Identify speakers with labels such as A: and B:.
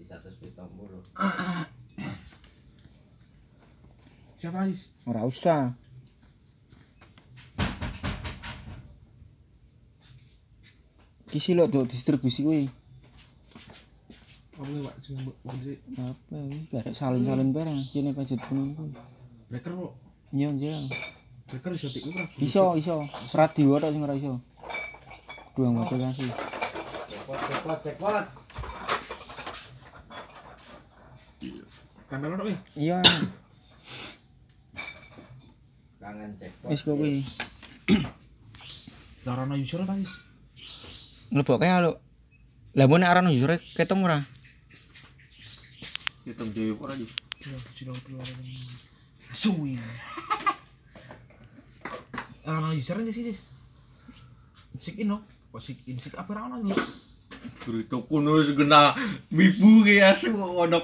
A: Batang Bulu.
B: Siapa Is?
C: Ora usah. Kisi lo do distribusi kuwi.
B: Apa gue pak? Sing mbok- mbok sih.
C: Apa kuwi? Gak ada salin-salin barang. Kene pajet penunggu.
B: Breaker kok.
C: Iya, iya.
B: Breaker iso tikku ora?
C: Iso, iso. Radio tok sing ora iso. Dua model kasih.
A: Cekot, cekot, cekot.
B: Kamera ora weh.
C: Iya,
A: Kangen cekot.
C: wis kok kuwi.
B: Lah ora ana user Pak Is.
C: Leboke alo. Lah mbok nek aran usure ketemu ora?
D: Hitung dewe ora iki.
B: Ya, sudah keluar ini. Suwi. Ora ana user Is Is. Sik in no. Kok sik in sik apa ora ana Is?
D: Guru toko wis kena mibu ki asu ono